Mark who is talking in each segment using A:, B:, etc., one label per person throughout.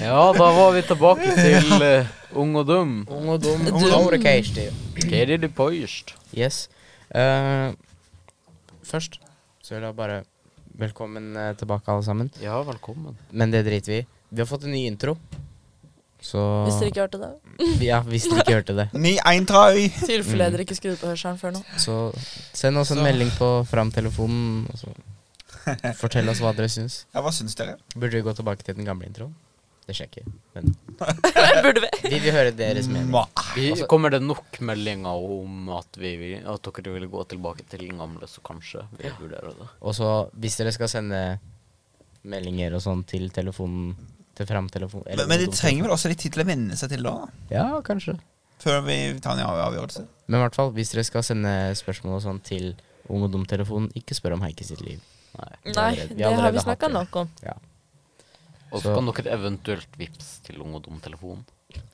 A: Ja, da var vi tilbake til eh, ung og dum.
B: Ung og dum.
C: Dum.
B: Ungdommer og keistig.
A: Keri de poist.
B: Yes. Eh, først så vil jeg bare Velkommen eh, tilbake, alle sammen.
A: Ja, velkommen.
B: Men det driter vi i. Vi har fått en ny intro. Så
C: Hvis dere ikke hørte det.
B: Ja, hvis dere ikke hørte det.
D: Ny
C: I
D: eintrøy.
B: Mm.
C: tilfelle dere ikke skrudde på hørselen før nå.
B: Så send oss en
D: Så-
B: melding på framtelefonen, og så fortell oss hva dere syns.
D: Ja, hva syns dere?
B: Burde vi gå tilbake til den gamle introen? Det sjekker vi. Men
C: Burde vi?
B: vi vil høre deres mening.
D: Mwah.
A: Vi,
B: Altså-
A: kommer det nok meldinger om at, vi, vil- at dere vil gå tilbake til den gamle, så kanskje vi vurderer det.
B: Og så hvis dere skal sende meldinger og sånn til telefonen til framtelefonen
D: Men, men de trenger vel også litt tid til å venne seg til det òg,
B: Ja, kanskje.
D: før vi tar en av- avgjørelse.
B: Men i hvert fall, hvis dere skal sende spørsmål og sånn til Ung og dum-telefonen, ikke spør om Heikki sitt liv.
A: Nei.
B: Vi har
C: Nei,
B: allerede- vi
C: det har
B: allerede
C: vi
B: hatt
C: snakka
B: det.
C: nok om.
B: Ja.
A: Og så
B: Så-
A: kan dere eventuelt vips til ung og dum-telefonen.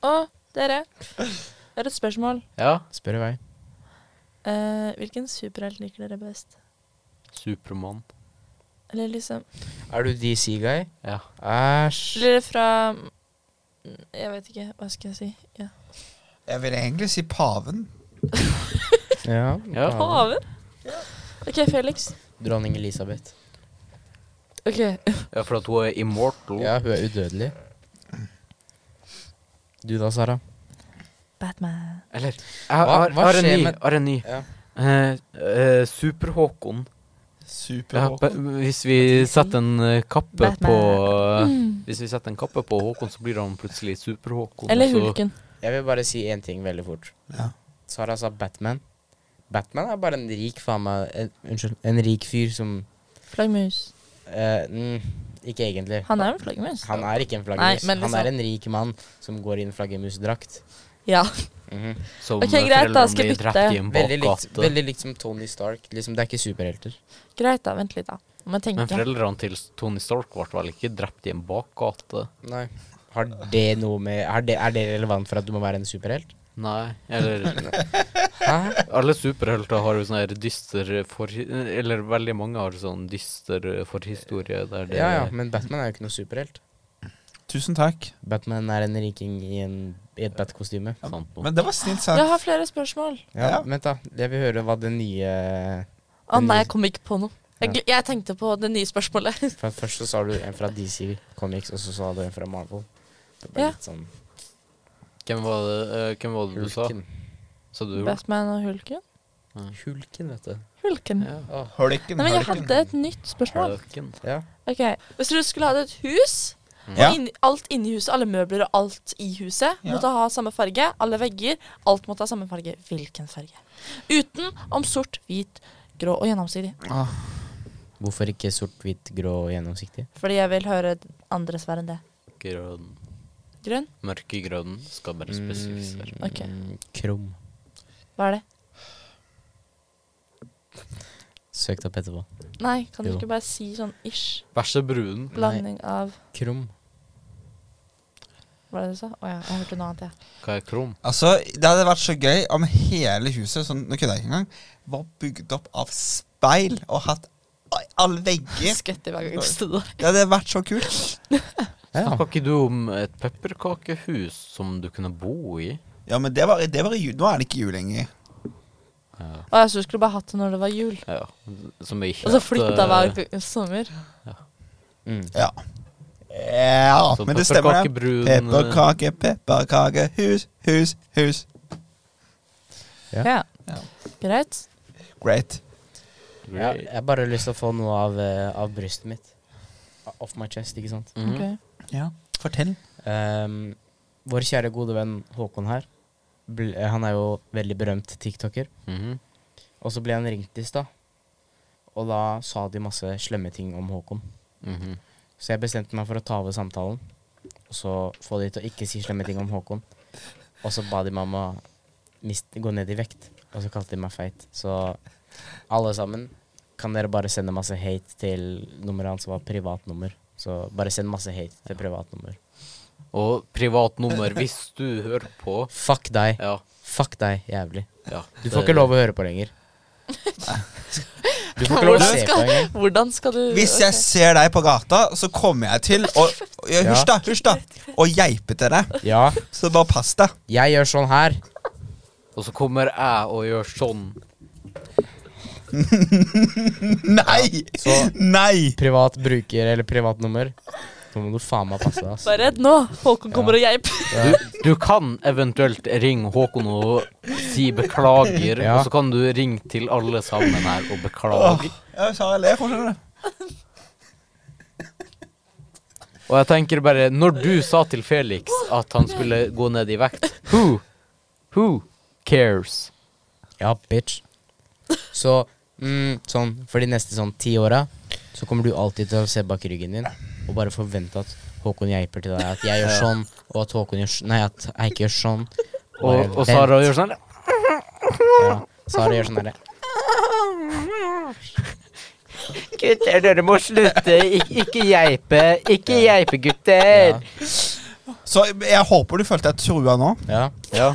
C: Å, dere. Jeg har et spørsmål.
A: Ja.
B: Spør i vei.
C: Eh, hvilken superhelt liker dere best?
A: Supermann.
C: Eller liksom
B: Er du DC-guy?
A: Ja.
B: Æsj.
C: Eller fra mm, Jeg vet ikke. Hva skal jeg si? Ja.
D: Jeg vil egentlig si paven.
B: Ja.
A: Ja.
B: ja.
C: Paven? OK, Felix.
B: Dronning Elisabeth.
C: OK.
A: ja, for at hun er immortal.
B: Ja, hun er udødelig. Du da, Sara?
C: Batman.
A: Eller Jeg
B: Hva-
A: har,
B: hva
A: har en
B: skjer
A: ny.
B: med-
A: Har en ny.
B: Ja.
A: Eh, eh, Super-Håkon. Ja,
D: Super.
A: ba- hvis vi setter en eh, kappe
C: Batman. Mm.
A: på eh, Hvis vi setter en kappe på Håkon, så blir han plutselig Super-Håkon.
C: Eller
A: og så-
C: Hulken.
B: Jeg vil bare si én ting veldig fort.
D: Ja.
B: Sara sa Batman. Batman er bare en rik faen meg en, Unnskyld, en rik fyr som
C: Flaggermus.
B: eh, mm, Ikke egentlig.
C: Han er jo en flaggermus.
B: Han er ikke en flaggermus.
C: Nei, men
B: Han
C: liksom-
B: er en rik mann som går i en flaggermusdrakt.
C: Ja.
B: Mhm.
A: Som
C: Ok, greit da, skal jeg bytte?
B: veldig, likt, veldig likt som Tony Stark. Liksom, det er ikke superhelter.
C: Greit, da. Vent litt, da. Må jeg
A: Men
C: tenke.
A: foreldrene til Tony Stark ble vel ikke drept i en bakgate?
B: Nei. Har det noe med har det, Er det relevant for at du må være en superhelt?
A: Nei. Eller
B: Hæ?
A: Alle superhelter har jo sånn her dyster forhi- Eller veldig mange har sånn dyster forhistorie der det
B: Ja ja, men Batman er jo ikke noe superhelt.
D: Tusen takk.
B: Batman er en riking i, en, i et Bat-kostyme.
A: er sant noe.
D: Men det var snilt sagt.
C: Jeg har flere spørsmål.
B: Ja,
D: Ja.
B: Vent, da. Jeg vil høre hva det nye
C: Å
B: Den
C: nei,
B: nye-
C: jeg kom ikke på noe. Jeg, gl- jeg tenkte på det nye spørsmålet.
B: For Først så sa du en fra DC Comics, og så sa du en fra Marvel. Det ble
C: Ja.
B: litt sånn
A: Hvem var det, eh, hvem var det du sa?
B: Hulken.
A: Sa du
C: Batman og Hulken?
B: Hulken, vet du.
C: Hulken.
A: Ja.
B: Åh.
D: Hulken,
C: Nei, men jeg
D: hulken.
C: hadde et nytt spørsmål.
A: Hulken.
B: Ja.
C: Ok, Hvis du skulle hatt et hus,
A: Mm.
C: og
D: Ja.
C: inni- alt inni huset, alle møbler og alt i huset,
D: Ja.
C: måtte ha samme farge, alle vegger, alt måtte ha samme farge. Hvilken farge? Uten om sort, hvit, grå og gjennomsiktig.
B: Hvorfor ikke sort, hvitt, grå og gjennomsiktig?
C: Fordi jeg vil høre andre svar enn det.
A: Grønn.
C: Grønn?
A: Mørkegrønn skal bare spesifisere.
C: Ok.
B: Mm, Krum.
C: Hva er det?
B: Søkt opp etterpå.
C: Nei, kan du
B: Jo.
C: ikke bare si sånn ish?
A: Vær så brun.
C: Blanding av
B: Krum.
C: Hva var det du sa? Å ja, jeg hørte noe annet, jeg.
A: Hva er krum?
D: Altså, Det hadde vært så gøy om hele huset sånn, nå kødder jeg ikke engang, var bygd opp av speil og hatt a- alle
C: Ja.
D: vegger.
C: Skvett i hver gang du stod der.
D: Det hadde vært så kult.
B: Ja.
A: Snakka ikke du om et pepperkakehus som du kunne bo i?
D: Ja, men det var, det var i jul. Nå er det ikke jul lenger.
C: Å, jeg skulle du bare hatt det når det var jul.
A: Ja. Som jeg ikke
C: Og så
A: vet,
C: flytta
A: eh,
C: hver k- sommer.
B: Mm.
D: Ja. Ja,
A: Så
D: men det stemmer, det.
A: pepperkakebrun, eh,
D: Pepperkake, pepperkake, hus, hus, hus.
B: Ja.
C: Ja.
D: Ja.
C: Greit.
D: Great.
A: eh,
B: Ja, jeg har bare lyst til å få noe av, eh, av brystet mitt. Off my chest, ikke sant?
A: Mhm.
C: Ok.
D: Ja, fortell.
B: Ehm, vår kjære gode venn Håkon her, bl eh, han er jo veldig berømt tiktoker.
A: Mhm.
B: Og så ble han ringt i stad, og da sa de masse slemme ting om Håkon.
A: Mhm.
B: Så jeg bestemte meg for å ta over samtalen, og så få de til å ikke si slemme ting om Håkon. Og så ba de meg om å mist- gå ned i vekt, og så kalte de meg feit. Så alle sammen, kan dere bare sende masse hate til nummeret hans var privatnummer. Så bare send masse hate til privatnummer.
A: Og privatnummer hvis du hører på.
B: Fuck deg.
A: Ja.
B: Fuck deg, jævlig.
A: ja.
B: Du får ikke lov å høre på lenger. Du får ikke lov å
C: Hvordan
B: se
C: skal-
B: på engang.
C: Hvordan skal du
D: Hvis jeg ser deg på gata, så kommer jeg til å ja, Hysj, da! Hysj, da! Og geipe til deg.
B: Ja,
D: Så bare pass deg.
B: jeg gjør sånn her.
A: Og så kommer jeg og gjør sånn.
D: Nei! Nei!
B: Privat bruker eller privat nummer. Så må du faen meg passe deg, ass.
C: Vær redd nå. Håkon kommer og geip.
B: Ja.
A: Du kan eventuelt ringe Håkon og si beklager,
B: Ja.
A: og så kan du ringe til alle sammen her og beklage.
D: Jeg sa jeg ler, skjønner du.
A: Og jeg tenker bare, når du sa til Felix at han skulle gå ned i vekt, who, who cares?
B: Ja, bitch. Så mm, sånn, for de neste sånn ti åra så kommer du alltid til å se bak ryggen din og bare forvente at Håkon geiper til deg. At jeg gjør sånn, og at Håkon gjør sånn. Nei, at jeg ikke gjør sånn.
A: Og, og Sara gjør sånn her.
B: Ja, Sara gjør sånn herre.
A: Gutter, dere må slutte. Ik ikke geipe. Ikke geipe, gutter.
B: Ja.
D: Så jeg håper du følte deg trua nå.
B: Ja.
A: Ja.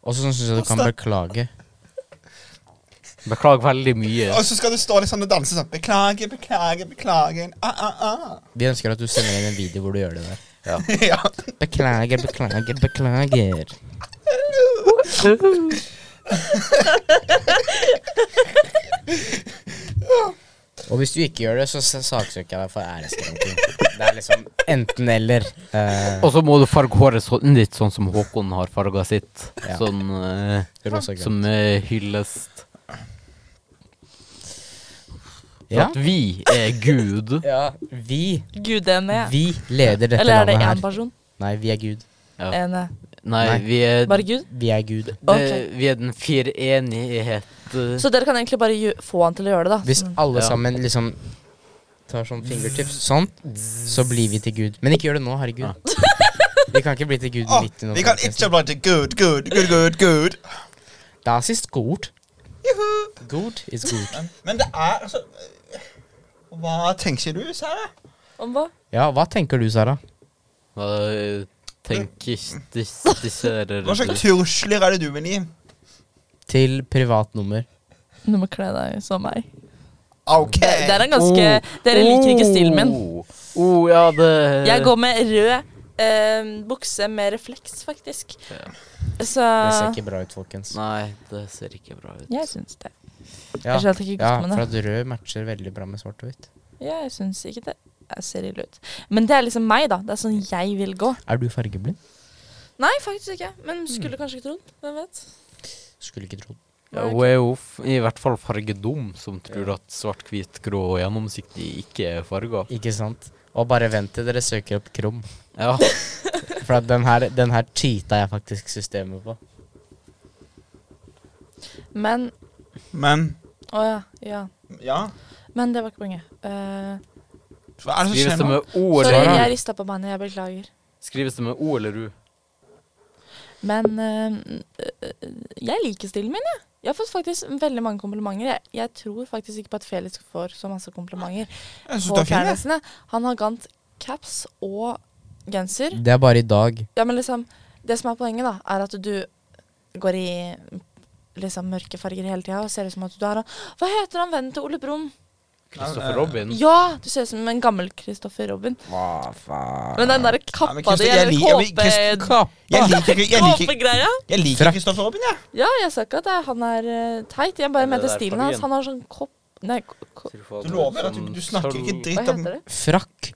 B: Og så syns jeg du kan beklage.
A: Beklager veldig mye.
D: Og så skal du stå litt sånn og danse sånn. Beklager, beklager, beklager. Ah, ah, ah.
B: Vi ønsker at du sender inn en video hvor du gjør det der.
D: ja.
B: Beklager, beklager, beklager. Og hvis du ikke gjør det, så s- saksøker jeg deg for æreskrenking. Det er liksom enten eller. Eh,
A: Og så må du farge håret så, litt sånn som Håkon har farga sitt.
B: Ja.
A: Sånn eh,
B: rosa og grønt.
A: som eh, hyllest. Sånn
B: ja.
A: At vi er Gud.
B: ja, vi
C: Gud er med.
B: Vi leder dette
C: Eller er det
B: landet
C: én
B: her.
C: person?
B: Nei, vi er Gud.
A: Ja.
C: En, eh,
A: Nei,
B: Nei.
A: vi er,
C: bare Gud?
B: Vi er Gud.
A: det-
C: Ok.
A: vi er den firenighet. eh,
C: Så dere kan egentlig bare gjø- få han til å gjøre det, da.
B: Hvis
C: Sånn.
B: alle
A: Ja.
B: sammen liksom tar sånn fingertips sånn, så blir vi til Gud. Men ikke gjør det nå, herregud. Vi kan ikke bli til Gud
D: Å,
B: midt i noe.
D: vi kan ikke bli til good, good, good, good, good.
B: Das ist gut. Good is good.
D: Men det er altså Hva tenker du, Sara?
C: Om hva?
B: Ja, hva tenker du, Sara?
A: Hva tenkestiserer
D: Hva slags trusler er det du vil gi?
B: Til privat nummer.
C: Du må kle deg som meg. Det,
D: OK.
C: det er en ganske
D: Oh.
C: Dere liker ikke stilen min.
A: Å, oh, ja, det
C: Jeg går med rød eh, bukse med refleks, faktisk. Så
B: Det ser ikke bra ut, folkens.
A: Nei, det ser ikke bra ut.
C: Jeg syns det.
B: Ja,
C: Jeg skjønner at det ikke går
B: ja,
C: med det.
B: for at rød matcher veldig bra med svart og hvitt.
C: Ja, jeg syns ikke det. Jeg ser ille ut. Men det er liksom meg, da. Det er sånn jeg vil gå.
B: Er du fargeblind?
C: Nei, faktisk ikke.
D: Mm.
C: Men skulle kanskje ikke trodd. Hvem vet?
B: Skulle ikke trodd.
A: Ja, hun er jo f- i hvert fall fargedum som tror at svart, hvit, grå og gjennomsiktig ikke er farger.
B: Ikke sant? Og bare vent til dere søker opp krum.
A: Ja.
B: For at den her, den her cheata jeg faktisk systemet på.
C: Men
D: Men
C: Å ja. ja.
D: Ja.
C: Men det var ikke poenget. Eh,
D: Hva er det som
A: Skrives det
D: skjer nå?
A: med O
C: sorry,
A: eller
C: jeg
A: U?
C: rista på beina. Jeg beklager.
A: Skrives det med O eller U?
C: Men eh, eh, jeg liker stilen min, jeg. Jeg har fått faktisk veldig mange komplimenter. Jeg, jeg tror faktisk ikke på at Felix får så masse komplimenter.
D: Jeg syns
C: på
D: du er fin.
C: klærne
D: jeg.
C: sine. Han har gant caps og genser.
B: Det er bare i dag.
C: Ja, men liksom, det som er poenget, da, er at du går i liksom mørke farger hele tida og ser ut som at du har Hva heter han vennen til Ole Brumm?
A: Christopher Robin?
C: Ja, du ser ut som en gammel Christopher Robin.
B: Hva faen?
C: Men den der
D: Ja, men
C: kappa
D: Christo-
C: di,
D: jeg
C: eller
D: liker- men Christ-
C: kåpe-
D: Jeg liker ikke Jeg liker,
C: kåpegreia
D: jeg liker
B: Frakk.
D: Kristoffer Robin, jeg.
C: Ja, jeg sa ikke at det- han er eh, teit. Jeg bare
A: Er det
C: mente
A: der
C: stilen
A: fargen?
C: hans. Han har sånn kopp... Nei, ko- ko-
D: Du lover at du, du snakker ikke
A: dritt.
C: hva
D: dritt om
C: heter det?
B: Frakk.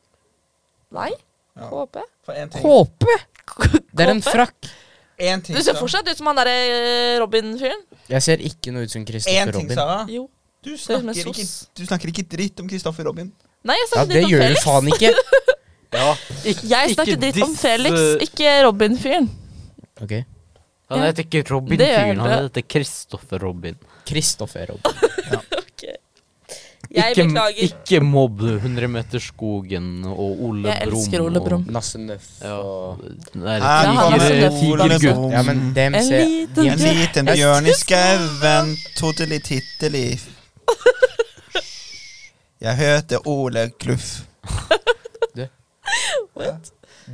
C: Nei?
D: Ja.
C: Kåpe?
D: For én ting.
B: Kåpe!
C: Kåpe?
B: Det er en frakk.
D: En ting,
C: Du ser
D: Sara.
C: fortsatt ut som han derre eh, Robin-fyren.
B: Jeg ser ikke noe ut som Kristoffer
D: En ting,
B: Robin.
D: Sara.
C: Jo.
D: Du
C: ut som en
D: snakker, ikke,
C: sos.
D: du snakker ikke dritt om Kristoffer Robin.
C: Nei, jeg
B: Ja,
C: snakket
B: det
C: litt om
B: gjør du
C: Felix.
B: faen ikke.
A: Ja, ikke,
C: Jeg snakket
A: ikke
C: dritt om
A: disse-
C: Felix, ikke Robin-fyren.
B: Ok.
A: Han heter ikke
C: Det gjør
A: Robin-fyren, han
C: det.
A: heter Christopher Robin.
B: Kristoffer Robin.
C: Jeg
A: ikke,
C: beklager.
A: Ikke mobb Hundremeterskogen og Ole
C: Jeg
A: Brumm.
C: elsker Ole
A: og-
C: Brumm.
B: Nøff
A: Ja.
B: og
A: Nei,
D: Her
C: Ja, han er sånn
A: tigre-
C: så
D: Ole
A: tigergutt.
D: Brumm.
B: Ja, men DMC
C: En liten
B: de-
D: En liten bjørn i skauen, toteli titteli. Jeg heter Ole Gluff.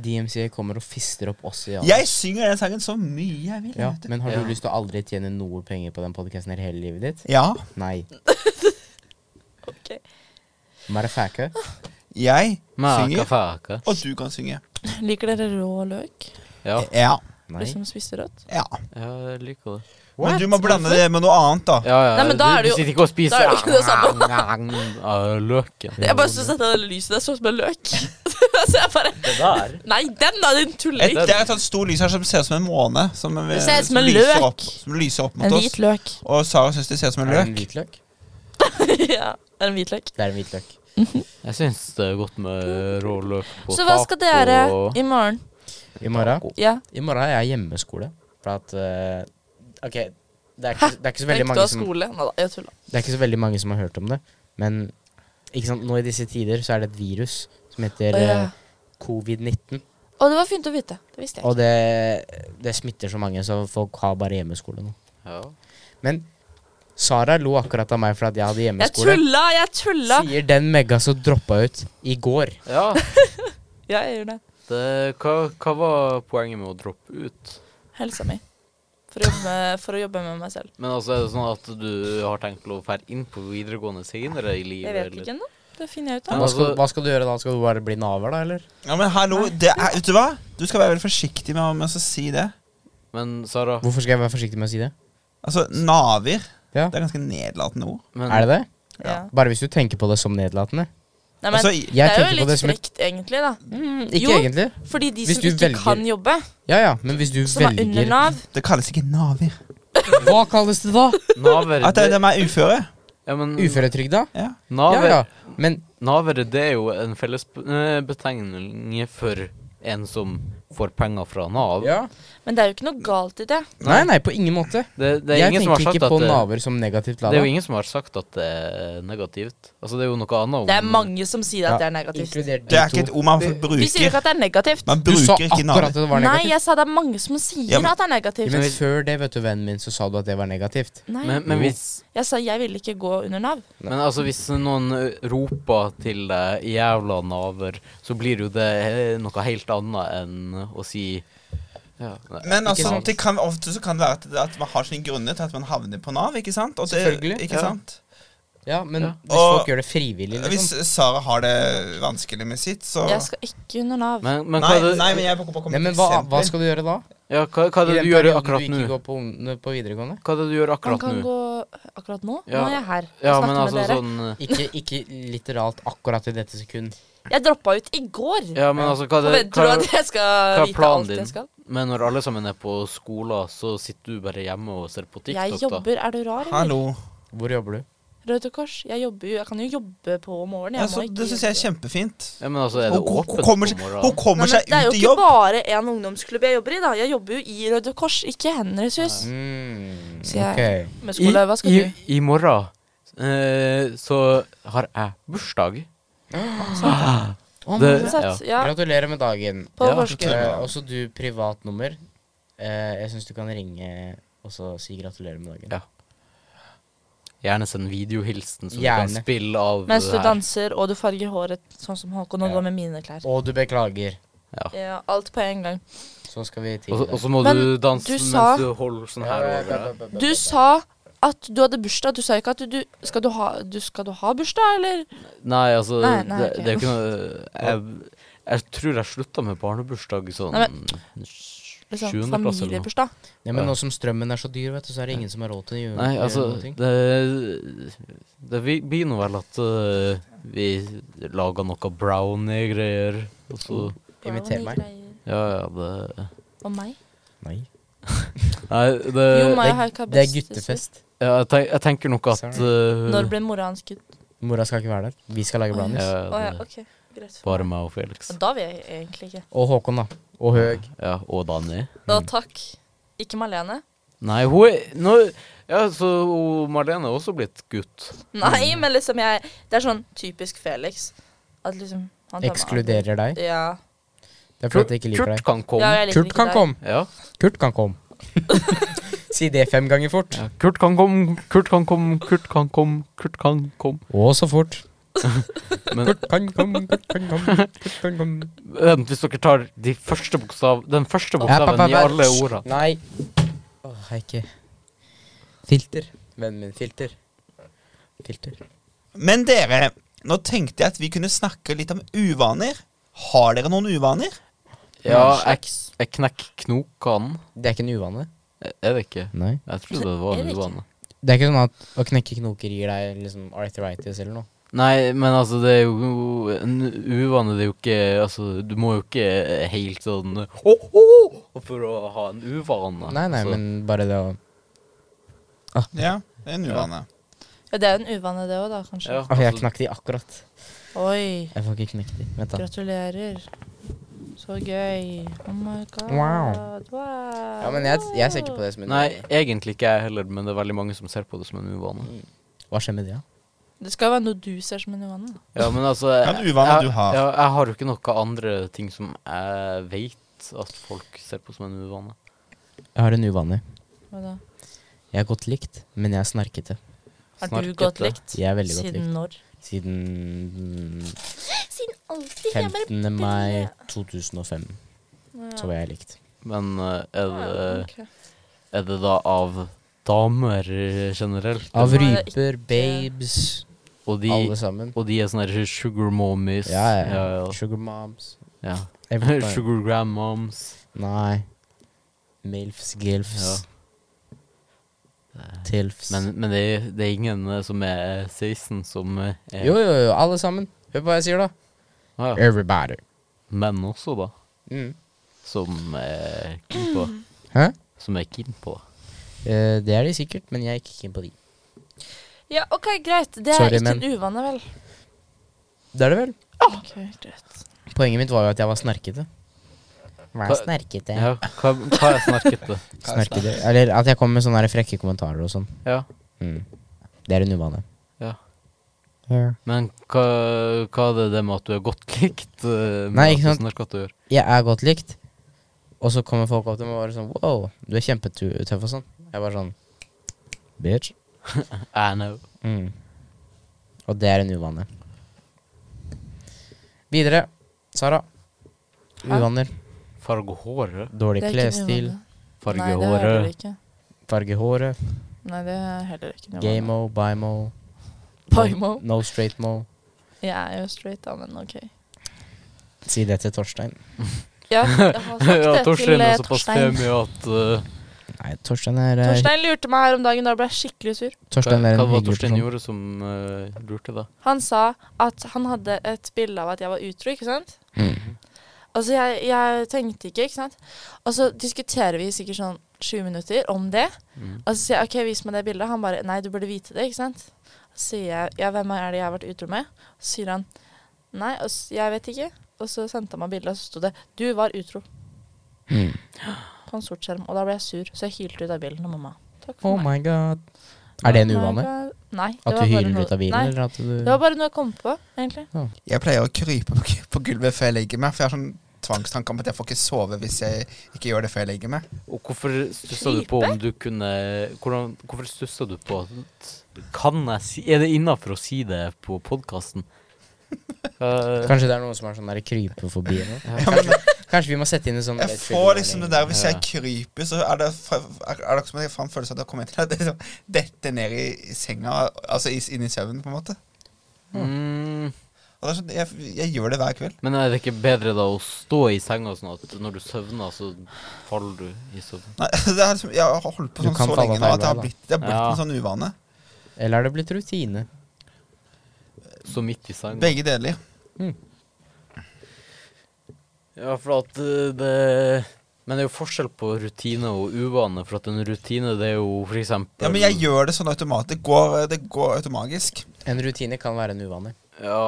B: DMC kommer og fister opp oss i alle.
D: Jeg synger den sangen så mye jeg vil.
B: Ja,
D: vet du.
B: men har du
A: Ja.
B: lyst til å aldri tjene noe penger på den podkasten hele livet ditt?
D: ja.
B: Nei.
C: Ok.
B: Marafaka.
D: Jeg synger,
A: Makafaka.
D: og du kan synge.
C: Liker dere rå løk?
A: Ja.
D: Ja.
B: Nei.
C: Dere som spiste rødt?
D: ja.
A: ja, jeg liker det.
D: Men du må blande det med noe annet, da.
A: Ja, ja,
C: Nei, men da
A: du-
C: er det jo-
A: Du sitter ikke og spiser
C: da er det ikke det
A: Ah, Løken.
C: Jeg bare syns at det lyset der så ut som en løk. så jeg bare
B: Det der.
C: Nei, den da, din
D: Et,
C: tulling!
D: det er et sånn stort lys her som ser ut som en måne. Som, eh,
C: Det ser ut som en
D: lyser
C: løk.
D: Opp, som lyser opp
C: En
D: mot oss.
C: hvit løk.
D: Og Sara syns det ser ut som
B: Er
D: en
B: det en
D: løk.
B: hvitløk?
C: ja, det er en hvit løk.
B: Det er en hvitløk.
A: Jeg syns det er godt med rå løk på
C: Så hva skal dere
A: og-
C: i morgen?
B: I morgen
C: Ja.
B: I morgen er jeg hjemmeskole. For at eh, OK, det er, ikke, det, er ikke så veldig
C: Tenkte du
B: mange
C: av
B: som,
C: skole? Nei da, jeg tulla.
B: det er ikke så veldig mange som har hørt om det. Men ikke sant, nå i disse tider så er det et virus som heter
C: Å, ja.
B: eh, covid-19.
C: Å, det var fint å vite. Det visste jeg
B: Og det, det smitter så mange, så folk har bare hjemmeskole nå.
A: Ja.
B: Men Sara lo akkurat av meg for at jeg hadde
C: ikke. Jeg
B: hjemmeskole.
C: tulla! Jeg tulla!
B: Sier den megga som droppa ut i går.
A: ja.
C: Ja, jeg gjør det.
A: Det, hva, hva var poenget med å droppe ut?
C: Helsa mi. For å jobbe med, for å jobbe med meg selv.
A: Men altså, er det sånn at du har tenkt å dra inn på videregående senere i livet?
C: Jeg vet
A: eller?
C: ikke ennå. Det finner jeg ut
A: Ja,
C: av.
B: Hva skal,
A: altså-
B: hva skal du gjøre da? Skal du bare bli naver, da, eller?
D: Ja, men hallo, det er, vet du hva? Du skal være veldig forsiktig med, å- med å si det.
A: Men Sara,
B: Hvorfor skal jeg være forsiktig med å si det?
D: Altså, Naver
B: Ja.
D: Det er ganske nedlatende ord.
A: men,
B: Er det det?
C: Ja.
B: Bare hvis du tenker på det som nedlatende.
C: Nei, men,
D: Altså,
C: det
B: Jeg
C: er jo
B: tenker på
C: litt
B: det som et
C: frekt, egentlig, da.
B: Ikke
C: Mm, Jo.
B: egentlig.
C: Fordi de
B: Hvis
C: som
B: du
C: ikke
B: velger-
C: kan jobbe,
B: Ja ja, men hvis du
C: som er under
B: velger
C: Nav
D: det kalles ikke naver.
B: Hva kalles det da?
A: Naver,
D: At det, de er uføre.
A: ja, men,
B: Uføretrygda?
D: Ja.
B: Ja
A: naver,
B: ja. Men
A: Navere, det er jo en felles eh, betegnelse for en som får penger fra Nav.
B: ja.
C: Men det er jo ikke noe galt i det.
B: Nei, nei, på ingen måte.
A: Det, det er
B: Jeg
A: ingen som har
B: tenker
A: sagt
B: ikke
A: at
B: på
A: det,
B: naver som negativt
A: det er
B: lada.
A: jo ingen som har sagt at det er negativt. Altså, det er jo noe annet om
C: Det er mange som sier
B: Ja,
C: at det er negativt.
B: Inkludert
D: Det er ikke
B: de
D: et
B: to.
D: ord man
C: Vi sier jo
D: bruker.
C: ikke at det er negativt.
D: Man
B: Du sa
D: bruker ikke
B: akkurat
D: naver.
B: at det var
C: Nei,
B: negativt.
C: jeg sa det er mange som sier
D: Ja, men-
C: at det er negativt.
B: Men før det, vet du, vennen min, så sa du at det var negativt.
C: Nei,
A: Men, men
B: Jo.
A: hvis
C: jeg sa jeg ville ikke gå under Nav.
A: Men altså, hvis noen ø, roper til deg 'jævla naver', så blir jo det eh, noe helt annet enn å si ja, nei,
D: Men
A: ikke
D: altså,
A: sant?
D: det kan, ofte så kan det være at, at man har sine grunner til at man havner på Nav. ikke sant? Og det,
B: Selvfølgelig,
D: Ikke
A: ja.
D: sant?
B: Ja, men
A: Ja.
B: hvis folk
D: Og-
B: gjør det frivillig,
D: Hvis
B: liksom.
D: Sara har det vanskelig med sitt, så
C: Jeg skal ikke under Nav.
A: Men, men hva
D: nei,
A: er det,
D: nei, men jeg kommer
B: Nei,
D: med
B: men
D: et
B: hva, hva
D: eksempel.
B: skal du gjøre da?
A: ja, hva, hva
B: I
A: er det du
B: den
A: gjør
B: perioden
A: akkurat
B: du
A: nå?
B: ikke går på, ung- på videregående?
A: Hva er det du gjør
C: Man
A: akkurat
C: kan
A: nå?
C: gå akkurat nå.
A: Ja.
C: Nå er jeg her og
A: Ja,
C: snakker
A: men altså
C: med dere.
A: sånn
B: Ikke, ikke litteralt akkurat i dette sekund.
C: Jeg droppa ut i går.
A: Ja, men altså, hva er det
C: Forventer du
A: hva,
C: at jeg skal
A: hva er
C: vite
A: planen
C: alt
A: din?
C: jeg skal?
A: Men når alle sammen er på skolen, så sitter du bare hjemme og ser på TikTok,
C: Jeg
A: da?
C: jobber. Er du rar, eller?
D: Hallo.
B: Hvor jobber du?
C: Røde Kors. Jeg jobber jo. Jeg kan jo jobbe på morgenen. Jeg
D: Ja, så,
C: må ikke
D: Altså, det syns jeg er
C: jobbe.
D: kjempefint.
A: Ja, men altså, er det
D: Hun, hun,
A: åpent
D: kommer,
A: på
D: seg- hun
A: morgenen?
C: Nei,
D: kommer
C: men
D: seg
C: det er
D: ut
C: jo
D: i
C: ikke
D: jobb.
C: bare én ungdomsklubb jeg jobber i, da. Jeg jobber jo i Røde Kors, ikke Henrys hus.
B: Mm,
C: Så jeg-
B: ok.
C: Med skole, hva skal
A: i,
C: du?
A: I morgen eh, så har jeg bursdag.
B: Å,
A: Det-
B: men-
C: Ikke sant? Ja,
B: Gratulerer med dagen.
C: på
A: Ja.
C: Porsgrunn.
B: Eh, også du, privat nummer. Eh, jeg syns du kan ringe og så si gratulerer med dagen.
A: Ja. Gjerne send videohilsen som du
B: Gjerne.
A: kan spille av
C: Mens du
A: her.
C: danser, og du farger håret sånn som Håkon,
B: Ja.
C: og du har med mine klær.
B: Og du beklager.
C: Ja, alt på en gang.
B: Så skal vi til
A: Og så- og så må
C: Men
A: du danse
C: du sa-
A: mens du holder sånn her over deg.
C: Du sa at du hadde bursdag. Du sa ikke at du, du skal, du ha, du skal du ha bursdag, eller?
A: Nei, altså,
C: Nei, nei,
A: det,
C: ok.
A: det er jo ikke noe jeg, jeg tror jeg slutta med barnebursdag sånn
C: Nei, Liksom,
A: sjuendeplass eller noe.
C: familiebursdag.
B: ja, men nå som strømmen er så dyr, vet du, så er det ingen som har råd til å gjøre,
A: Nei,
B: gjøre
A: altså,
B: noe. ting.
A: det, det vi- blir nå vel at øh, vi lager noe brownie-greier, og så
B: Inviter meg.
A: Ja, ja, det
C: Og meg?
B: Nei.
A: Nei,
C: Jo,
A: det
C: meg har
B: Eh, Det,
C: jeg ikke
B: det er
C: bestesøster.
B: guttefest.
A: ja, jeg, tenk, jeg tenker nok at
B: Sorry.
A: øh,
C: Når ble mora hans gutt?
B: Mora skal ikke være der. Vi skal lage brownies.
A: ja,
C: Å ja,
A: det-
C: ok. Greit.
A: Bare meg og Felix.
C: Da vil jeg egentlig ikke.
B: Og Håkon, da. Og Høg.
A: Ja, og Danny.
C: Da
B: Mm.
C: takk. Ikke Malene.
A: Nei, hun er nå, Ja, så hun Marlene er også blitt gutt.
B: Mm.
C: Nei, men liksom jeg Det er sånn typisk Felix. At liksom han tar meg av.
B: Ekskluderer deg.
C: Ja.
B: Det er fordi jeg ikke liker
A: Kurt
B: deg.
A: kan
C: ja
A: komme.
C: jeg liker
B: Kurt
C: ikke
B: kan
C: deg.
B: komme!
A: Ja.
B: Kurt kan komme. si det fem ganger fort.
A: Ja, Kurt kan komme, Kurt kan komme, Kurt kan komme, Kurt kan komme.
B: Og så fort.
A: Men
B: Kurt kan komme, Kurt kan komme, Kurt kan komme.
A: vent, hvis dere tar de første bokstav, den første
B: Ja,
A: bokstaven
B: pappa,
A: i
B: pappa.
A: alle ordene
B: Nei. Åh, jeg er ikke Filter. Vennen min, filter. Filter.
D: Men dere, nå tenkte jeg at vi kunne snakke litt om uvaner. Har dere noen uvaner?
A: Ja, jeg, jeg knekker knokene.
B: Det er ikke en uvane.
A: Er det ikke?
B: Nei.
A: Jeg trodde det var
C: Er
A: en
C: det ikke?
A: uvane.
B: Det er ikke sånn at å knekke knoker gir deg liksom arthritis eller noe.
A: Nei, men altså, det er jo en uvane. Det er jo ikke Altså, du må jo ikke helt sånn Å, å, å, for å ha en uvane.
B: Nei, nei,
A: altså.
B: men bare det å
D: Ja, det er en uvane.
C: Ja, det er jo en uvane, det òg, da, kanskje.
A: Ja.
B: Åh, jeg
A: Altså-
B: knakk de akkurat.
C: Oi.
B: Jeg får ikke knekt de. Vent, da.
C: Gratulerer. Så gøy. Oh my god.
B: Wow.
C: Wow.
B: Ja, men jeg, jeg ser ikke på det som en
A: Nei, egentlig ikke jeg heller, men det er veldig mange som ser på det som en uvane.
B: Hva skjer med det, da?
C: Det skal jo være noe du ser som en uvane. da.
A: Ja, men altså
D: Ja, en uvane
A: jeg,
D: du har.
A: Ja, jeg har jo ikke noe andre ting som jeg veit at folk ser på som en uvane.
B: Jeg har en uvane.
C: Hva da?
B: Jeg er godt likt, men jeg er snarkete.
C: Har du
A: Snarkete.
C: godt likt?
B: Jeg er veldig godt
C: Siden
B: likt.
C: når?
B: Siden
C: Siden alltid.
B: 15. mai 2005 så var jeg likt.
A: Men eh, er
C: Ah,
A: det, er det da av damer eh, generelt?
B: Av
C: var det
B: ryper, babes,
A: Og de,
B: alle sammen.
A: og de er sånne her sugar mommies.
B: Ja, ja.
A: ja,
B: Sugar moms.
A: ja.
B: Everybody.
A: Sugar grandmoms.
B: Nei. Milfs, gilfs, tilfs.
A: Men, men det, er- det er ingen eh, som er 16 som eh, er
B: Jo, jo, jo, alle sammen. Hør på hva jeg sier, da.
A: Ah, ja.
B: Everybody.
A: menn også, da.
B: Mm.
A: Som er keen på
B: Hæ?
A: Som er keen på det.
B: Eh, det er de sikkert, men jeg er ikke keen på de.
C: Ja, OK, greit. Det er
B: Sorry,
C: ikke
B: men-
C: en uvane, vel?
B: Det er det vel.
C: Ok, greit.
B: Poenget mitt var jo at jeg var snerkete. Hva
A: Hva-
B: er snerkete?
A: Ja, hva, hva er snarkete?
B: Snerkete. Eller at jeg kommer med sånne her frekke kommentarer og sånn.
A: Ja,
B: Mm. Det er en uvane.
A: ja. Men hva, hva er det det med at du er godt likt? eh, med
B: Nei,
A: at
B: ikke
A: du
B: sant.
A: snakker at du gjør?
B: Jeg er godt likt, og så kommer folk opp til meg og bare sånn Wow, du er kjempetøff og sånn. Jeg er bare sånn Bitch.
A: I know.
B: Mm. Og det er en uvane. Videre. Sara.
C: Hæ?
B: Uvaner.
A: Farge håret.
B: Dårlig
C: Det er ikke en
B: klesstil.
C: uvane. Nei,
A: Farge
C: det er heller
A: håret.
C: ikke.
B: Farge håret.
C: Nei, det er heller ikke en uvane.
B: Gamo. Bimo.
C: Bimo.
B: No straight mo.
C: Jeg er jo straight, da, men OK.
B: Si det til Torstein.
C: Ja, jeg har sagt
A: Ja,
C: det
A: Torstein
C: til eh,
A: er såpass
C: Torstein.
A: femi at eh,
B: Nei, Torstein er eh,
C: Torstein lurte meg her om dagen, da ble jeg skikkelig sur.
A: Hva
B: Torstein er
A: hva var det
B: en hyggelig
A: Torstein
B: person.
A: gjorde som eh, lurte deg?
C: Han sa at han hadde et bilde av at jeg var utro, ikke sant?
B: Mm.
C: Altså, jeg, jeg tenkte ikke, ikke sant? Og så diskuterer vi sikkert sånn 20 minutter om det.
A: Mm.
C: Og så sier jeg OK, vis meg det bildet. Han bare Nei, du burde vite det, ikke sant? Så sier jeg ja, hvem er det jeg har vært utro med? Og så sier han nei, og s- jeg vet ikke. Og så sendte han meg bildet, og så sto det du var utro
B: Mm.
C: på en sort skjerm. Og da ble jeg sur, så jeg hylte ut av bilen og mamma. Takk for
B: Oh
C: meg.
B: my god. Er det en
C: Oh my
B: uvane?
C: God. Nei. det
B: At
C: var
B: du
C: bare
B: hyler
C: noe-
B: ut av bilen,
C: Nei,
B: eller at du
C: det var bare noe jeg kom på, egentlig.
D: Jeg pleier å krype på gu- på gulvet før jeg legger meg, for jeg har sånn tvangstanke om at jeg får ikke sove hvis jeg ikke gjør det før jeg legger meg.
A: Og hvorfor stussa du på om du kunne hvordan, Hvorfor stussa du på at Kan jeg si Er det innafor å si det på Eh, podkasten?
B: Kanskje det er noen som er sånn der kryper forbi eller noe? Kanskje, kanskje vi må sette inn en sånn
D: Jeg får liksom det der Hvis jeg
A: Ja.
D: kryper, så er det, er det akkurat som jeg får en følelse av at jeg kommer til å liksom dette ned i i senga, altså i- inn i søvnen, på en måte.
A: mm,
D: Og det er sånn, jeg, jeg gjør det hver kveld.
A: men er det ikke bedre da å stå i senga sånn at når du søvner, så faller du i søvn?
D: Nei, det er liksom, jeg har holdt på
B: Du
D: sånn
B: kan
D: så
B: falle
D: lenge nå
B: feil
D: at det har
B: vei, da.
D: blitt, det har blitt
A: Ja.
D: en sånn uvane.
B: Eller er det blitt rutine?
A: Så midt i senga?
D: Begge deler.
A: Ja, for at eh, det Men det er jo forskjell på rutine og uvane, for at en rutine, det er jo for eksempel
D: Ja, men jeg gjør det sånn automat. Det går, det går automagisk.
B: En rutine kan være en uvane.
A: Ja,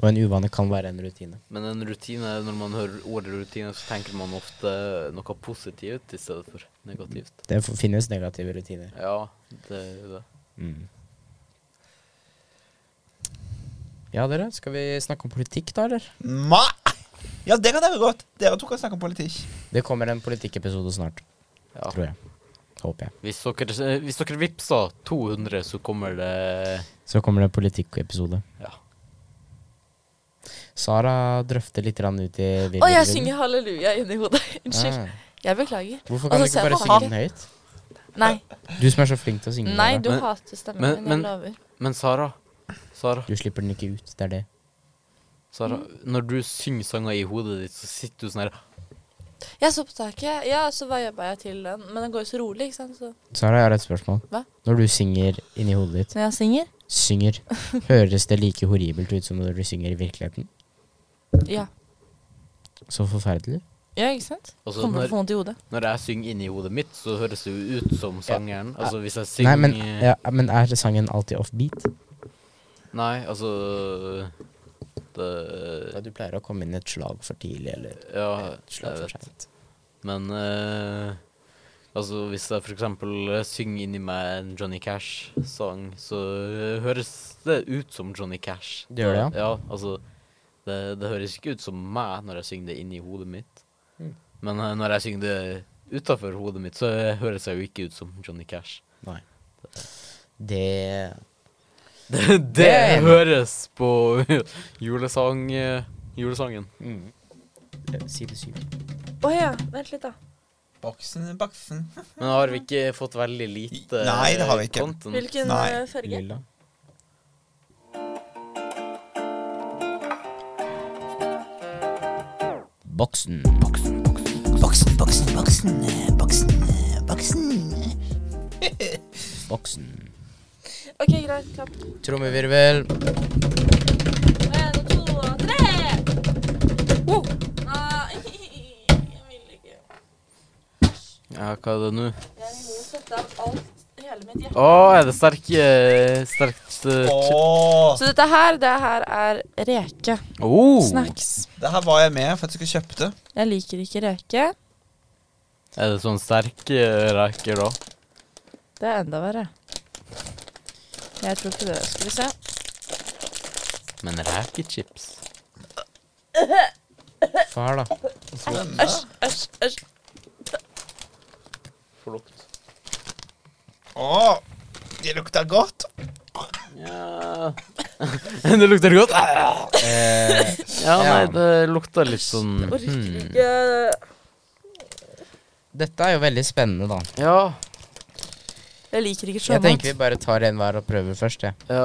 B: Og en uvane kan være en rutine.
A: men en rutine, når man hører ordet rutine, så tenker man ofte noe positivt i stedet for negativt.
B: Det f- finnes negative rutiner. Mm.
A: Ja, det er jo det.
B: Ja, dere. Skal vi snakke om politikk, da, eller?
D: Ma! Ja, dere hadde det godt. Dere to kan snakke om politikk.
B: Det kommer en politikkepisode snart,
A: Ja.
B: tror jeg. Håper jeg.
A: Hvis dere, eh, hvis dere vippser 200, så kommer det
B: Så kommer det en politikkepisode.
A: Ja.
B: Sara drøfter litt grann ut i
C: Å, jeg synger halleluja inni hodet. Unnskyld. Jeg beklager.
B: Ah. Hvorfor kan du
C: Altså,
B: ikke
C: se
B: bare
C: på
B: synge
C: han.
B: den høyt?
C: Nei,
B: Du som er så flink til å synge.
C: nei
B: Sara.
C: du
A: Men-
C: hater
A: men-
C: stemmen min. Jeg
A: men-
C: lover.
A: Men Sara, Sara,
B: Du slipper den ikke ut. Det er det.
A: Sara når du synger sanger i hodet ditt, så sitter du sånn her
C: Jeg så på taket, ja, så vibba jeg til den. Men den går jo så rolig, ikke sant. Så
B: Sara, jeg har et spørsmål.
C: Hva?
B: Når du synger inni hodet ditt,
C: når jeg synger,
B: synger, høres det like horribelt ut som når du synger i virkeligheten?
C: ja.
B: Så forferdelig.
C: Ja, ikke sant?
A: Altså,
C: Kommer til
A: når-
C: å få vondt i hodet.
A: Når jeg synger inni hodet mitt, så høres det jo ut som sangeren. Altså hvis jeg
B: Nei,
A: synger
B: men, ja, men er sangen alltid offbeat?
A: Nei, altså Det
B: Du pleier å komme inn et slag for tidlig, eller
A: Ja,
B: et
A: jeg
B: slag for
A: vet.
B: seint.
A: Men eh, altså, hvis jeg for eksempel eh, synger inni meg en Johnny Cash-sang, så eh, høres det ut som Johnny Cash.
B: Det gjør det,
A: ja? altså, det, det høres ikke ut som meg når jeg synger det inni hodet mitt.
B: Mm.
A: Men eh, når jeg synger det utafor hodet mitt, så eh, høres jeg jo ikke ut som Johnny Cash.
B: Nei. Det
A: Det, det
B: er jeg enig i.
A: høres på julesang, eh, julesangen.
B: Mm. Side Eh, syv.
C: Å ja, vent litt, da.
A: Mm.
D: Boksen, baksen.
A: Men har vi ikke fått veldig lite
D: Nei, det har vi
A: eh,
D: ikke.
A: content?
C: Hvilken
D: Nei.
C: eh, farge?
B: Lilla. Boksen.
D: Boksen, boksen, boksen, boksen, boksen.
B: Boksen.
C: OK, greit. Klapp.
B: Trommevirvel.
C: En, to, tre! Wow. Nei, jeg vil ikke.
A: Ja, hva er det nå?
C: Jeg vil sette av alt, hele mitt
A: Å,
C: hjerte.
A: er det sterk, eh, sterkt eh,
D: Åh,
C: Så dette her, det her er reke.
A: Oh.
C: Snacks.
D: det her var jeg med for at jeg skulle kjøpe det.
C: Jeg liker ikke reke.
A: Er det sånn sterk eh, reker, da?
C: Det er enda verre. Jeg tror ikke det. Skal vi se.
A: Men rekechips
B: Far, da.
C: Æsj, æsj, æsj.
A: Får lukt.
D: Åh, det lukter godt.
A: Ja Det lukter godt.
B: Eh,
A: Ja, nei,
B: Ja.
A: det lukter litt sånn
C: Jeg orker
A: hmm.
C: ikke.
B: dette er jo veldig spennende, da.
A: Ja.
C: Jeg liker ikke
B: Jeg
C: sjømat.
B: tenker vi bare tar en hver og prøver først, jeg.
A: ja.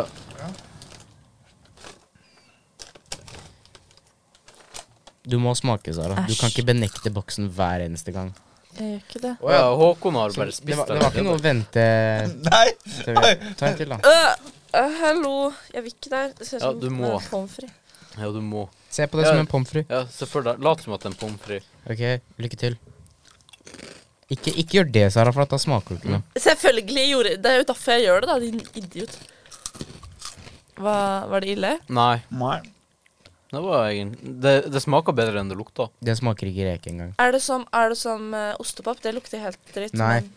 B: Du må smake, Sara. Du
C: Æsj.
B: kan ikke benekte boksen hver eneste gang.
C: Jeg gjør ikke det.
A: Å ja, Håkon har bare
B: Det
A: spist
B: var, det var ikke noe å vente
D: Nei,
B: til vi tar en til, da.
C: Øh, øh, hallo. Jeg vil ikke der. Det ser ut
A: Ja,
C: som
A: du må.
C: en pommes frites.
A: Ja, du må.
B: Se på det som en pommes frites.
A: Ja, Se for deg Lat som at det er en pommes frites.
B: Ok, lykke til. Ikke, ikke gjør det, Sara, for at da smaker du ikke
C: Mm.
B: noe.
C: Selvfølgelig gjorde Det er jo derfor jeg gjør det, da, din idiot. Hva, var det ille?
A: Nei.
D: Nei.
A: Det var egentlig Det, det smaker bedre enn det lukta.
B: Det smaker ikke reke engang.
C: Er det som, er det som eh, ostepop? Det lukter helt dritt.
B: Nei.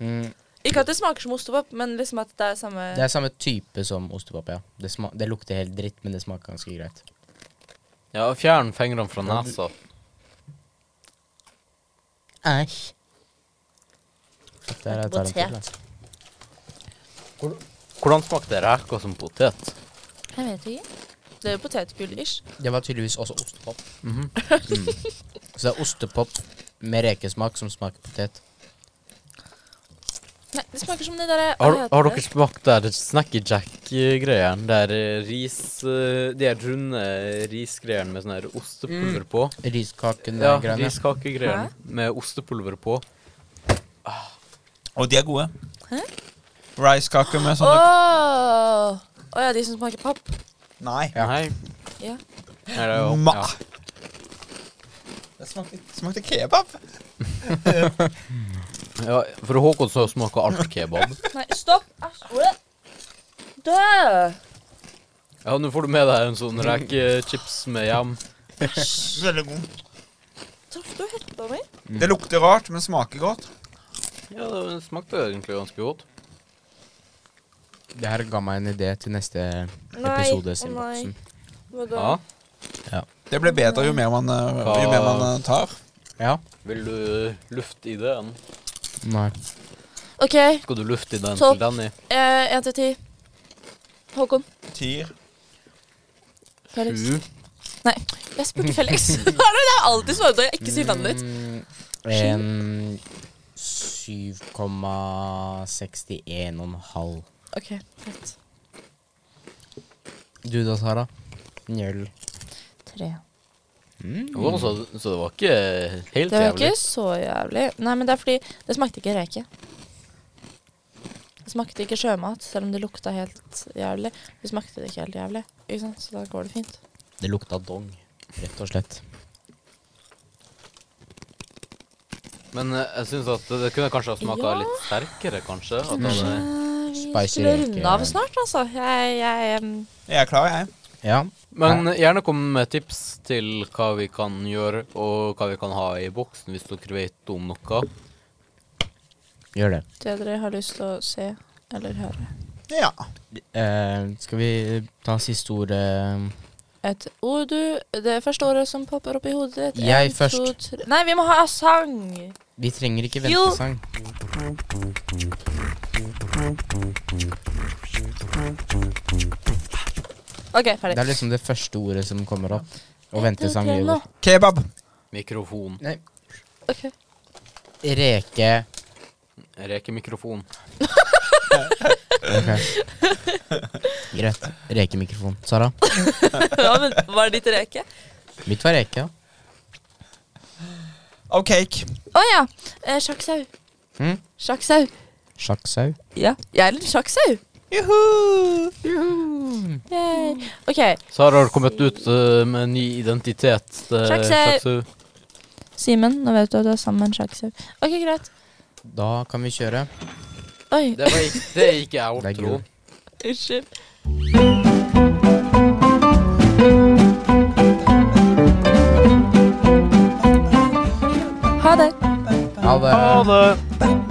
C: men-
B: Mm,
C: Ikke at det smaker som ostepop, men liksom at det er samme
B: det er samme type som ostepop, ja. Det, sma det lukter helt dritt, men det smaker ganske greit.
A: Ja, Fjern fingrene fra nesa.
B: Æsj. Shit, der er
C: Potet.
B: tarantel, da.
A: Hvordan smakte reker som potet?
C: Jeg vet ikke. Det er jo potetgull-ish.
B: Det var tydeligvis også ostepop. mm. Mhm. Så det er ostepop med rekesmak som smaker potet.
C: Nei, det smaker som det derre
A: Har, har dere smakt der Snacky Jack-greiene? Der eh, ris eh, De her runde risgreiene med sånn her ostepulver
C: Mm.
A: på.
B: Riskaken
A: Ja,
B: og greiene.
A: riskakegreiene med ostepulver på.
D: Og de er gode.
C: Hæ?
D: Rice-kaker med
C: Å
D: sånne
C: ja, de som smaker papp.
D: Nei.
B: Ja.
A: Nei.
C: Ja.
A: Nei, det er jo
D: Ma.
A: ja.
D: Det smakte, smakte kebab.
A: ja, For Håkon så smaker alt kebab.
C: Nei, stopp! Æsj. Øh. Dø!
A: Ja, nå får du med deg en sånn rekechips med hjem.
D: Veldig god.
C: Traff du hetta mi?
A: Mm.
D: Det lukter rart, men smaker godt.
A: Ja, det smakte egentlig ganske godt.
B: Det her ga meg en idé til neste
C: Nei,
B: episode.
C: å nei.
B: Simboksen.
C: Hva da?
A: Ja.
D: Det blir bedre jo mer man, eh, jo mer man eh, tar.
B: Ja?
A: Vil du lufte ideen?
B: Nei.
C: OK,
A: Skal du lufte ideen
C: Topp.
A: til Danny?
C: én til ti. Håkon.
D: Tyr.
C: Felix.
A: Sju.
C: Nei, jeg spurte Felix. Har du det? Jeg har alltid svaret når jeg ikke sier navnet ditt.
B: Mm, En 7,61,5.
A: Mm.
C: OK, greit.
B: Du da, Sara? Njøl.
C: Tre.
A: Å, så, så det var ikke helt
C: Det var
A: jævlig.
C: ikke så jævlig. Nei, men det er fordi det smakte ikke reke. Det smakte ikke sjømat, selv om det lukta helt jævlig. Det smakte det ikke helt jævlig, ikke sant? så da går det fint.
B: Det lukta dong, rett og slett.
A: Men eh, jeg syns at det kunne kanskje ha smaka
C: Ja.
A: litt sterkere, kanskje. At det
C: Kanskje
A: hadde,
C: Eh, vi
B: Spicy
C: skulle
B: reke.
C: runde av snart, altså. Jeg, jeg em,
D: Jeg er klar, jeg.
B: Ja.
A: men gjerne kom med tips til hva vi kan gjøre, og hva vi kan ha i boksen, hvis dere vet om noe.
B: Gjør det.
C: Det dere har lyst til å se eller høre.
D: Ja.
B: Eh, skal vi ta siste ord? eh?
C: Et ord du Det første ordet som popper opp i hodet ditt.
B: Jeg
C: En,
B: først.
C: to, tre. Nei, vi må ha sang!
B: Vi trenger ikke
C: Jo.
B: ventesang.
C: OK,
B: Det
C: ferdig.
B: er liksom det første ordet som kommer opp. Og
C: En, to,
B: ventesang
C: tre,
B: gjør
C: nå.
D: Kebab.
A: Mikrofon.
B: Nei.
C: Ok.
B: Reke.
A: Rekemikrofon.
B: Ok. Greit. Rekemikrofon. Sara?
C: ja, men var det ditt reke?
B: Mitt var reke. da.
D: Og cake.
C: Å ja. Eh, sjakksau.
B: Hm?
C: Sjakksau.
B: Sjakksau.
C: Ja. Jeg er litt sjakksau.
D: Juhu!
C: Yay. OK.
A: Sara har kommet ut eh, med en ny identitet. eh,
C: Sjakksau.
A: sjakksau.
C: Simen, nå vet du at du er sammen med en sjakksau. OK, greit.
B: Da kan vi kjøre.
C: Oi,
A: Det, var ikke, det gikk jeg
B: Det er
A: opp, tro.
B: gul.
C: unnskyld. Ha det.
B: Ha det.
A: Ha det.
D: Bam,